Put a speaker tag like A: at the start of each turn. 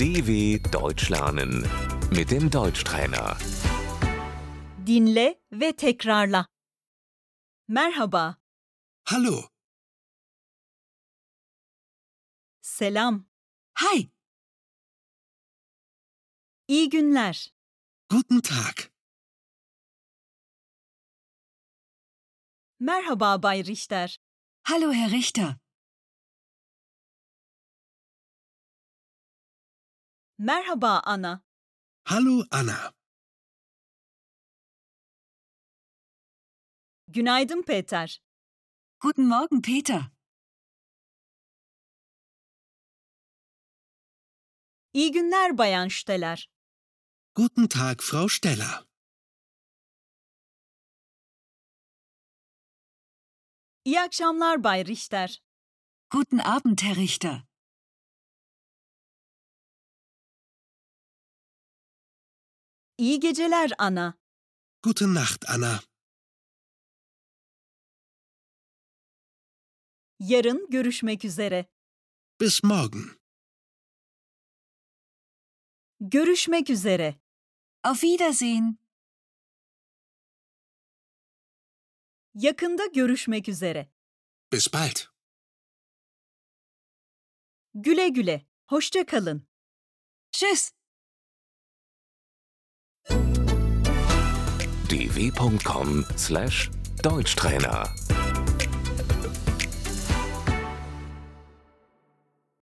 A: DW Deutsch lernen mit dem Deutschtrainer.
B: Dinle ve tekrarla. Merhaba,
C: Hallo,
B: selam,
D: Hi,
B: iyi günler,
C: guten Tag.
B: merhaba Bay Richter,
D: hallo Herr Richter.
B: merhaba Ana,
C: Hallo Anna.
B: günaydın Peter,
D: Guten Morgen, Peter.
B: iyi günler Bayan Steller,
C: Guten Tag, Frau Steller.
B: iyi akşamlar Bay Richter,
D: Guten Abend, Herr Richter.
B: iyi geceler Ana,
C: Gute Nacht, Anna.
B: yarın görüşmek üzere,
C: Bis morgen.
B: görüşmek üzere.
D: Auf Wiedersehen.
B: Yakında görüşmek üzere.
C: Bis bald.
B: Güle güle. Hoşça kalın.
D: Tschüss.
A: dw.com/deutschtrainer